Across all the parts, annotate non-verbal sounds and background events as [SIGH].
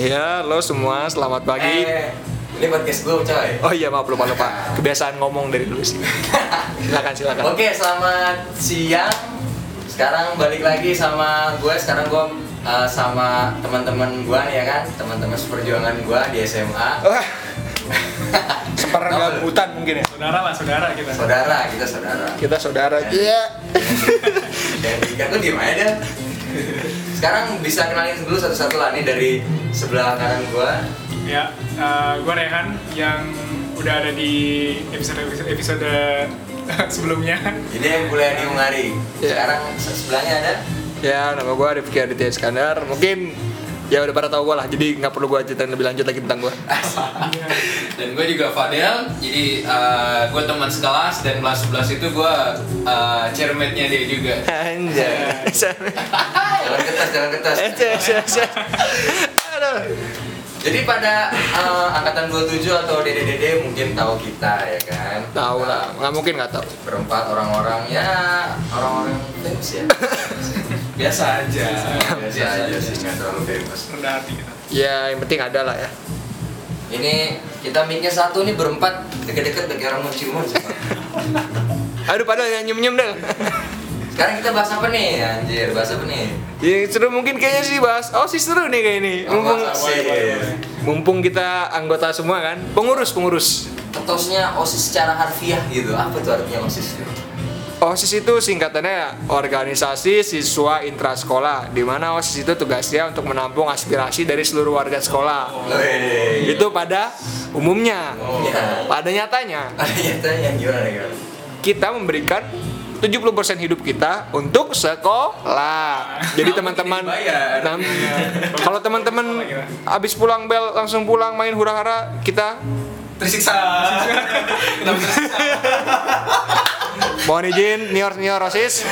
Ya, lo semua selamat pagi. Eh, ini podcast gue coy. Oh iya, maaf lupa lupa. Kebiasaan ngomong dari dulu sih. Silakan silakan. Oke, selamat siang. Sekarang balik lagi sama gue. Sekarang gue eh, sama teman-teman gue nih ya kan, teman-teman seperjuangan gue di SMA. Wah. Seperanggabutan mungkin ya. saudara lah saudara kita [LAUGHS] Saudara, kita saudara. Kita saudara. Iya. Dan tiga tuh diem aja. Sekarang bisa kenalin dulu satu-satu lah nih dari sebelah kanan gue. ya eh, gue Rehan yang udah ada di episode episode, episode [LAUGHS] sebelumnya Ini yang kuliah di Ungari. Iya. Sekarang se- sebelahnya ada. Ya, nama gue Rifki Aditya Iskandar. Mungkin ya udah pada tahu gue lah. Jadi nggak perlu gue ceritain lebih lanjut lagi tentang gue. Dan gue juga Fadel, jadi gue teman sekelas dan kelas 11 itu gue uh, chairmate-nya dia juga. [LAUGHS] Anjay. Jalan kertas, jalan kertas. Eh, Aduh. Jadi pada eh, angkatan 27 atau DDDD mungkin tahu kita ya kan. Tahu lah, nggak mungkin nggak tahu. berempat orang-orang ya orang-orang famous ya [LAUGHS] biasa aja biasa aja sih nggak terlalu famous rendah hati kita Ya, yang penting ada lah ya. ini kita mic-nya satu nih berempat deket-deket bagi orang mau ciuman sih, Bang. Aduh, padahal yang nyem-nyem deh. [LAUGHS] sekarang kita bahas apa nih anjir bahas apa nih Ya, seru mungkin kayaknya sih bahas. Oh, sih seru nih kayak ini. Mumpung Apa sih? mumpung kita anggota semua kan. Pengurus, pengurus. ketosnya osis secara harfiah gitu apa tuh artinya osis OSIS itu singkatannya Organisasi Siswa Intrasekolah di mana OSIS itu tugasnya untuk menampung aspirasi dari seluruh warga sekolah. Wih. Itu pada umumnya. ya Pada nyatanya, ada nyatanya gimana gimana kita memberikan 70% hidup kita untuk sekolah. Jadi teman-teman dibayar. nam- kalau teman-teman habis pulang bel langsung pulang main hura-hara, kita Tersiksa. Kenapa tersiksa? mohon izin nior-nior OSIS.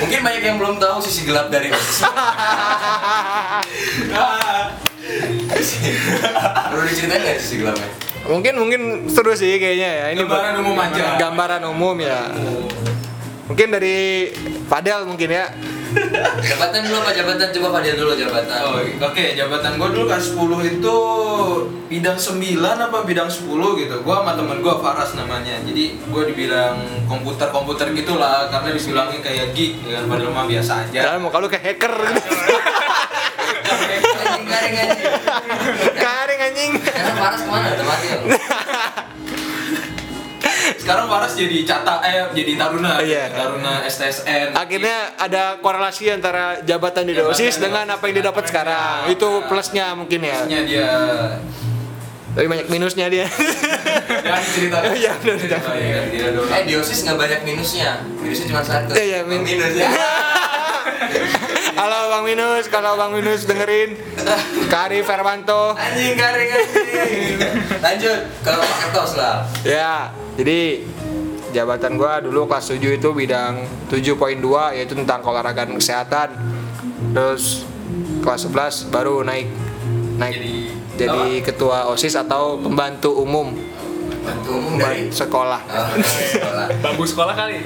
mungkin banyak yang belum tahu sisi gelap dari osis perlu diceritain nggak sisi gelapnya Mungkin mungkin seru sih kayaknya ya. Ini Gambaran umum aja. Gambaran umum ya. Mungkin dari Padel mungkin ya. jabatan dulu apa jabatan coba Fadil dulu jabatan Oh, Oke, jabatan gue dulu kan 10 itu bidang 9 apa bidang 10 gitu. Gue sama temen gue Faras namanya. Jadi gue dibilang komputer-komputer gitulah karena dibilangnya kayak geek ya kan padahal mah biasa aja. Jangan mau kalau kayak hacker. [LAUGHS] Anjing garing anjing. Garing anjing. Karena panas kemana? Udah mati ya. Sekarang Faras jadi cata eh jadi taruna. Iya. Taruna STSN. Akhirnya ada korelasi antara jabatan di Jabatan Ya. dosis di dengan dosis. apa yang didapat sekarang. Itu plusnya mungkin ya. Maksudnya [LAUGHS] dia Tapi banyak minusnya dia. [LAUGHS] jangan diceritakan. Iya, benar, jangan. Iya, dia doang. Eh di OSIS nggak banyak minusnya. Minusnya cuma satu. Iya, iya, min- minus ya. [LAUGHS] Halo Bang Minus, kalau Bang Minus dengerin Kari Fermanto. Anjing garing anjing. Lanjut kalau Pak Kertos lah. Ya, jadi jabatan gua dulu kelas 7 itu bidang 7.2 yaitu tentang keolahragaan kesehatan. Terus kelas 11 baru naik naik jadi, Jadi- ketua OSIS atau pembantu umum Bantu umum dari pembantu sekolah. Oh, dari sekolah. bambu sekolah kali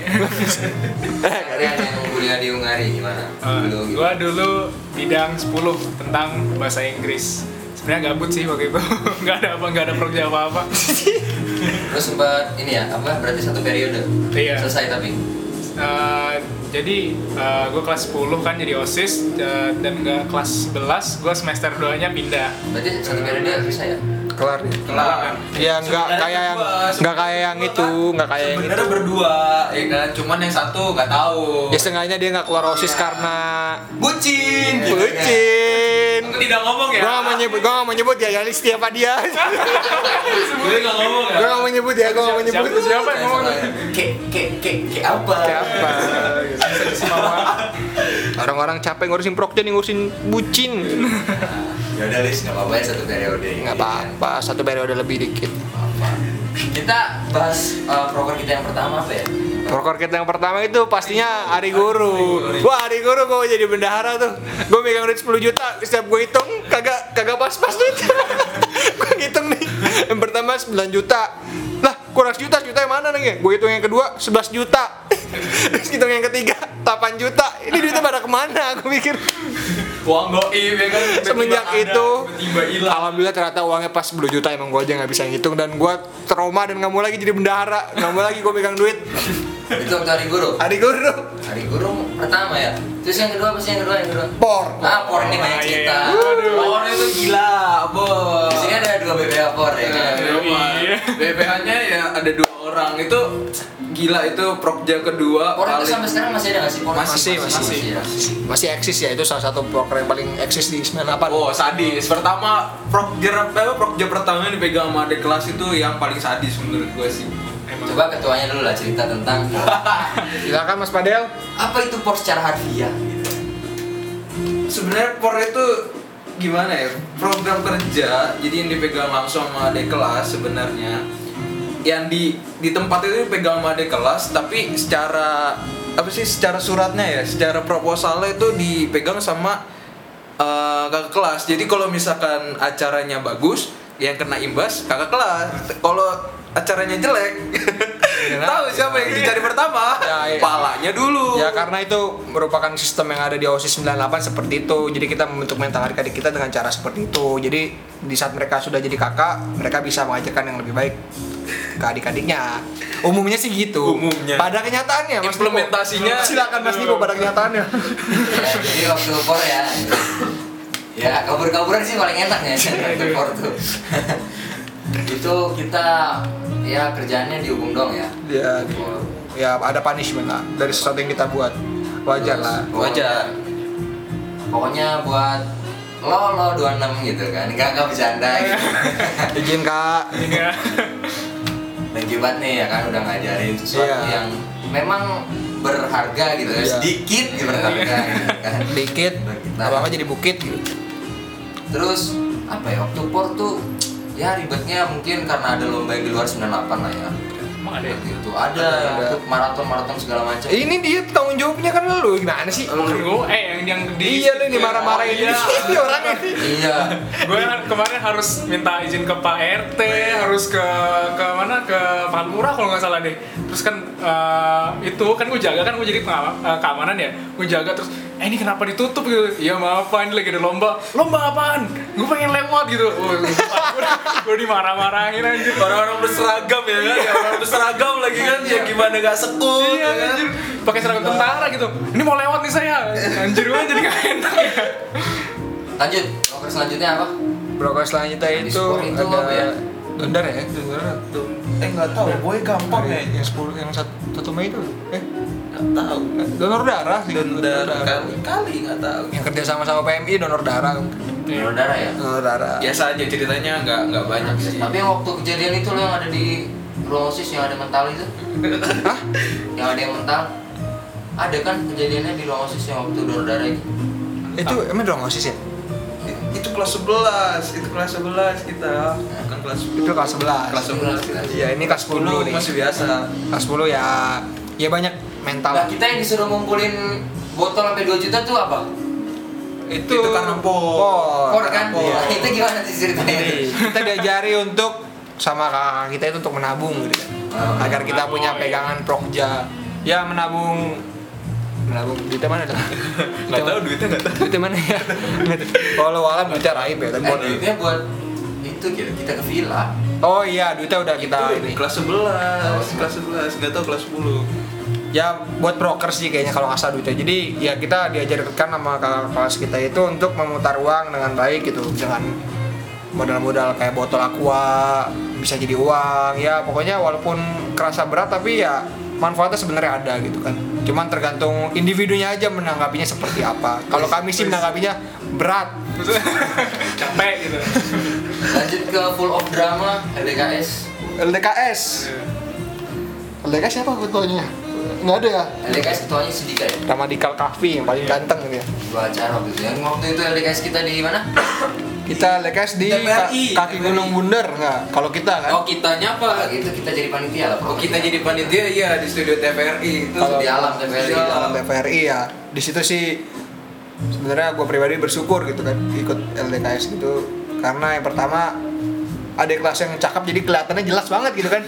Kalian yang kuliah di Ungari gimana? Dulu gitu. gue Eh, dulu bidang 10 tentang bahasa Inggris sebenarnya gabut sih waktu itu [LAUGHS] nggak ada apa nggak ada program apa apa Terus sempat ini ya apa? Berarti satu periode. Iya. Selesai tapi. Eh, jadi gue kelas 10 kan jadi osis eh, dan nggak kelas 11 gue semester 2 nya pindah Berarti satu periode selesai ya. Kelar ya. Kelar. Ya nggak Sebenarnya kayak yang berdua, nggak kayak sebenarnya yang berdua, itu, kan? nggak kayak yang itu. Sebenarnya berdua, ya kan? Cuman yang satu nggak tahu. Ya setengahnya dia nggak keluar OSIS karena Bucin. gitu kan. bucin. Aku tidak ngomong ya. Gua nggak mau nyebut, gua nggak mau nyebut ya, Yalis tiap [LAUGHS] dia. Gue nggak ngomong ya. Gua nggak mau nyebut ya, gua nggak mau siapa, nyebut. siapa yang ngomong Ke ke ke ke apa? Kayak apa? Orang-orang capek ngurusin prokjen yang ngurusin bucin. Ya udah Lis, nggak apa-apa ya satu periode. Nggak apa-apa, satu periode lebih dikit. apa kita bahas uh, proker kita yang pertama apa ya Prokor kita yang pertama itu pastinya Ari Guru. Wah, Ari Guru gua jadi bendahara tuh. Gua megang duit 10 juta, setiap gua hitung [LAUGHS] kagak kagak pas-pas duit. gua hitung nih. Yang pertama 9 juta. Lah, kurang juta juta yang mana neng gue hitung yang kedua 11 juta [LAUGHS] terus hitung yang ketiga 8 juta ini duitnya pada kemana aku pikir uang goib ya kan tiba-tiba Semenjak ada, itu, tiba-tiba hilang alhamdulillah ternyata uangnya pas 10 juta emang gue aja nggak bisa ngitung dan gue trauma dan nggak mau lagi jadi bendahara nggak mau lagi gue pegang duit Itu waktu hari guru. hari guru Hari guru pertama ya. Terus yang kedua apa sih yang kedua? Yang kedua. por Ah, por ini banyak Ah, iya. cerita. Aduh. orang itu gila Di bos sini ada dua BPA por ya kan. Iya. BPH nya ya ada dua orang itu gila itu prokja kedua Por itu paling- sampai sekarang masih ada nggak sih por? Masih, masih. ya. masih eksis ya itu salah satu proker yang paling eksis di Ismail apa Oh sadis. Pertama prokja apa prokja pertama yang dipegang sama adik kelas itu yang paling sadis menurut gue sih. Emang. Coba ketuanya dulu lah cerita [LAUGHS] tentang silakan Mas Padel apa itu por secara harfiah. gitu. Sebenarnya por itu gimana ya program kerja jadi yang dipegang langsung sama adik kelas sebenarnya yang di di tempat itu dipegang sama adik kelas tapi secara apa sih secara suratnya ya secara proposalnya itu dipegang sama eh, kakak kelas jadi kalau misalkan acaranya bagus yang kena imbas kakak kelas kalau acaranya jelek [LAUGHS] tahu siapa yang dicari pertama Iya kan? Ya, iya. palanya dulu Ya karena itu merupakan sistem yang ada di OSIS 98 seperti itu. Jadi kita membentuk mental adik-adik kita dengan cara seperti itu. Jadi di saat mereka sudah jadi kakak, mereka bisa mengajarkan yang lebih baik ke adik-adiknya. Umumnya sih gitu. Umumnya. Pada kenyataannya Mas Niko. Implementasinya. silakan Mas Niko pada kenyataannya. Ya, jadi waktu por ya. Ya, kabur-kaburan sih paling enak ya waktu por tuh. [LAUGHS] itu kita ya kerjaannya dihukum dong ya. ya, Por. ya ada punishment lah dari sesuatu yang kita buat. Wajar Terus, lah. Wajar. Pokoknya buat lo lo 26 gitu kan. Enggak enggak bercanda gitu. Izin Kak. Iya. Thank you banget nih ya kan udah ngajarin sesuatu Iya. yang memang berharga gitu ya. Iya. Sedikit gitu berharga gitu kan. Dikit, Kita- apa-apa jadi bukit gitu. Terus apa ya waktu por tuh ya ribetnya mungkin karena ada lomba yang di luar 98 lah ya. Emang ada ya? Seperti itu ada, Ada, ada. untuk maraton-maraton segala macam. Ini dia tanggung jawabnya kan lu gimana sih? Emang gua- eh yang yang di Iya lu nih marah-marahin Iya. ini orang ini. Iya. gue kemarin harus minta izin ke Pak RT, harus ke ke mana ke Pak Lurah kalau nggak salah deh. Terus kan eh, itu kan gue jaga kan gue jadi pengawa- eh, keamanan ya, gue jaga terus. Eh ini kenapa ditutup gitu? Iya maaf Pak, ini lagi ada lomba. Lomba apaan? Gue pengen lewat gitu. gue dimarah-marahin anjir. orang-orang berseragam ya kan ya, orang berseragam lagi kan ya gimana gak sekut Iya ya kan anjir, pakai seragam tentara gitu. Ini mau lewat nih saya. Anjir gue jadi gak enak ya. Lanjut, proker selanjutnya apa? Broker selanjutnya Yang di itu skor itu ada apa ya? Dundar ya? Dundar. eh nggak tahu boy gampang ya? Dari kayaknya yang 10 yang 1 Mei itu. Eh, nggak tahu donor darah sih. dendar kali kali nggak tahu Yang kerja sama sama PMI donor darah. Iya. Donor darah ya. Donor darah. biasa aja ceritanya nggak nggak banyak Iya, sih Tapi yang waktu kejadian itu lo yang ada di ruang OSIS yang ada mental itu? Hah? Yang ada yang mental? Ada kan kejadiannya di ruang OSIS yang waktu donor darah itu? Itu emang dong OSIS ya? itu kelas 11 itu kelas 11 kita bukan kelas 10 Itu kelas 11. kelas 11 kita Iya, ini kelas 10 10 nih. masih biasa Kelas 10 ya ya banyak mental. Nah, kita yang disuruh ngumpulin botol sampai 2 juta tuh apa? itu, itu karena por. Por kan? Por. Itu gimana sih ceritanya? Jadi, kita diajari untuk sama kakak kita itu untuk menabung gitu kan. Oh, agar kita menabung, punya iya. pegangan prokja ya menabung menabung duitnya mana dah [LAUGHS] nggak tahu duitnya nggak tahu duitnya mana [LAUGHS] ya Nggak tahu. kalau alam duitnya raib ya tapi Eh, buat- duitnya buat itu kita, kita ke villa. oh iya duitnya udah kita itu ini Nah, kelas 11 kelas 11 nggak tahu kelas 10 ya buat broker sih kayaknya kalau nggak salah duitnya jadi ya kita diajarkan sama kakak kelas kita itu untuk memutar uang dengan baik gitu dengan modal-modal kayak botol aqua bisa jadi uang ya pokoknya walaupun kerasa berat tapi ya manfaatnya sebenarnya ada gitu kan cuman tergantung individunya aja menanggapinya seperti apa kalau kami sih menanggapinya berat Terus, capek gitu. Lanjut ke full of drama LDKS. LDKS LDKS siapa ketuanya? nggak ada ya? LDKS ketuanya sedikit ya. Ramadikal Kahfi yang paling ganteng gitu ya Dua acara waktu itu. Yang waktu itu LDKS kita di mana? Kita lekas di ka- TPRI. kaki Gunung Bunder nggak? Kalau kita kan? oh kitanya apa Kalau gitu kita jadi panitia lah. Oh kita jadi panitia iya di studio TVRI itu Kalau di alam TVRI. Di alam. Dalam TVRI ya. Di situ sih sebenarnya gue pribadi bersyukur gitu kan ikut LDKS gitu karena yang pertama ada kelas yang cakep jadi kelihatannya jelas banget gitu kan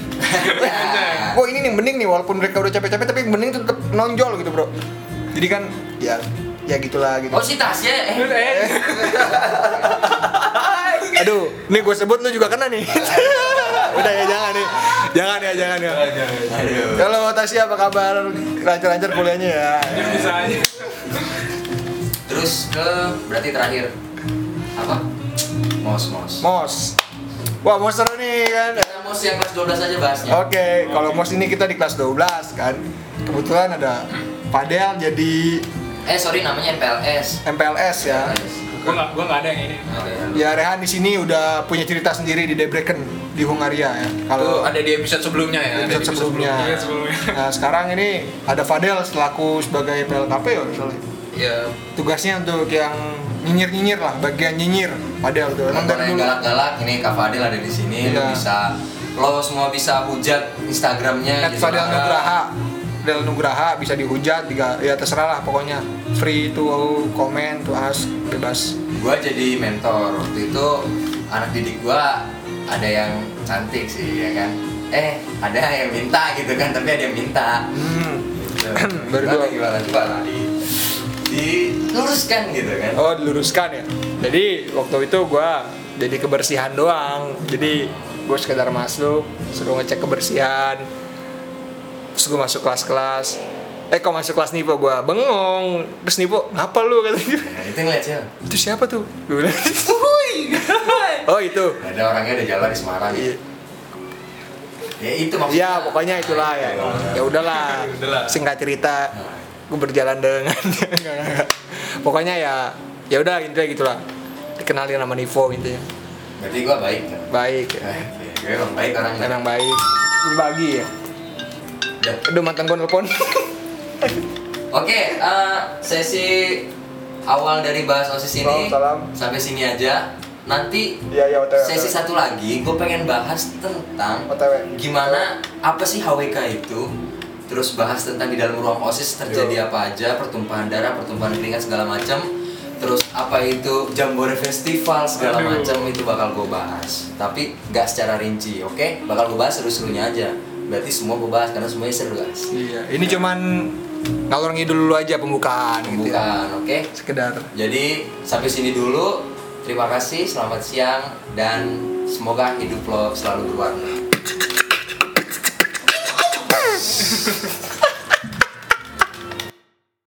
Wah ini nih bening nih walaupun mereka udah capek-capek tapi yang bening tuh tetap nonjol gitu bro jadi kan ya ya gitulah gitu oh si Tasya eh eh aduh nih gue sebut lu juga [LAUGHS] kena nih udah ya jangan nih jangan ya jangan ya aduh halo Tasya apa kabar lancar-lancar kuliahnya ya jadi bisa aja terus ke berarti terakhir apa mos mos Mos wah Mos seru nih kan kita mos yang kelas 12 aja bahasnya Oh. Oke, kalau mos ini kita di kelas 12 kan. Kebetulan ada Padel jadi eh sorry namanya MPLS MPLS ya. gue nggak gue nggak ada yang ini Oh, iya. Ya Rehan di sini udah punya cerita sendiri di Debrecen di Hungaria ya. Tuh, Kalau ada di episode sebelumnya ya. episode sebelumnya. Iya, sebelumnya. Nah, sekarang ini ada Fadel selaku sebagai PLKP ya misalnya. Ya, Tugasnya untuk yang nyinyir-nyinyir lah, bagian nyinyir Fadel tuh. Emang Nonton dari yang dulu. galak-galak, ini Kak Fadil ada di sini, lo Iya. bisa lo semua bisa hujat Instagramnya. At gitu. Fadel Nah, Nugraha. Fadel Nugraha bisa dihujat, diga- ya terserah lah pokoknya. Free to comment, to ask, bebas. Gua jadi mentor waktu itu anak didik gua ada yang cantik sih ya kan. Eh ada yang minta gitu kan, tapi ada yang minta. Hmm. Gitu. Baru Gimana, dua. gimana coba lah di diluruskan gitu kan. Oh diluruskan ya. Jadi waktu itu gua jadi kebersihan doang. Jadi gue sekedar masuk, suruh ngecek kebersihan. Terus gue masuk kelas-kelas. Eh kok masuk kelas Nipo gua bengong. Terus Nipo, ngapa lu [LAUGHS] kata gitu. Nah, itu ngeliat sih. Itu siapa tuh? Gue bilang, [LAUGHS] oh itu. Ada orangnya udah jalan di Semarang. Iya. Gitu. Ya itu maksudnya. Nah, Ya pokoknya itulah ya. [LAUGHS] Ya udahlah. Udahlah. Singkat cerita, gue berjalan dengan [LAUGHS] Enggak, enggak, enggak. pokoknya ya ya udah intinya gitulah. Dikenalin sama Nipo intinya. Berarti gua baik. Kan? Baik. Ya. Oke, Gue emang baik orangnya. Emang baik. Berbagi ya. Udah. Aduh mantan gua nelpon. Oke, eh, sesi awal dari bahas osis Salam, ini salam. sampai sini aja. Nanti Iya iya OTW. sesi satu lagi, gue pengen bahas tentang OTW. gimana apa sih HWK itu. Terus bahas tentang di dalam ruang osis Iya. terjadi apa aja, pertumpahan darah, pertumpahan keringat segala macam. Terus apa itu jambore festival segala Aduh. macam itu bakal gue bahas. Tapi nggak secara rinci, oke? Bakal gue bahas seru-serunya aja. Berarti semua gue bahas karena semuanya seru guys. Iya, ini cuman ngalor ngidul dulu aja pembukaan, gitu ya. Bukan, oke? Sekedar. Jadi sampai sini dulu. Terima kasih, selamat siang dan semoga hidup lo selalu berwarna.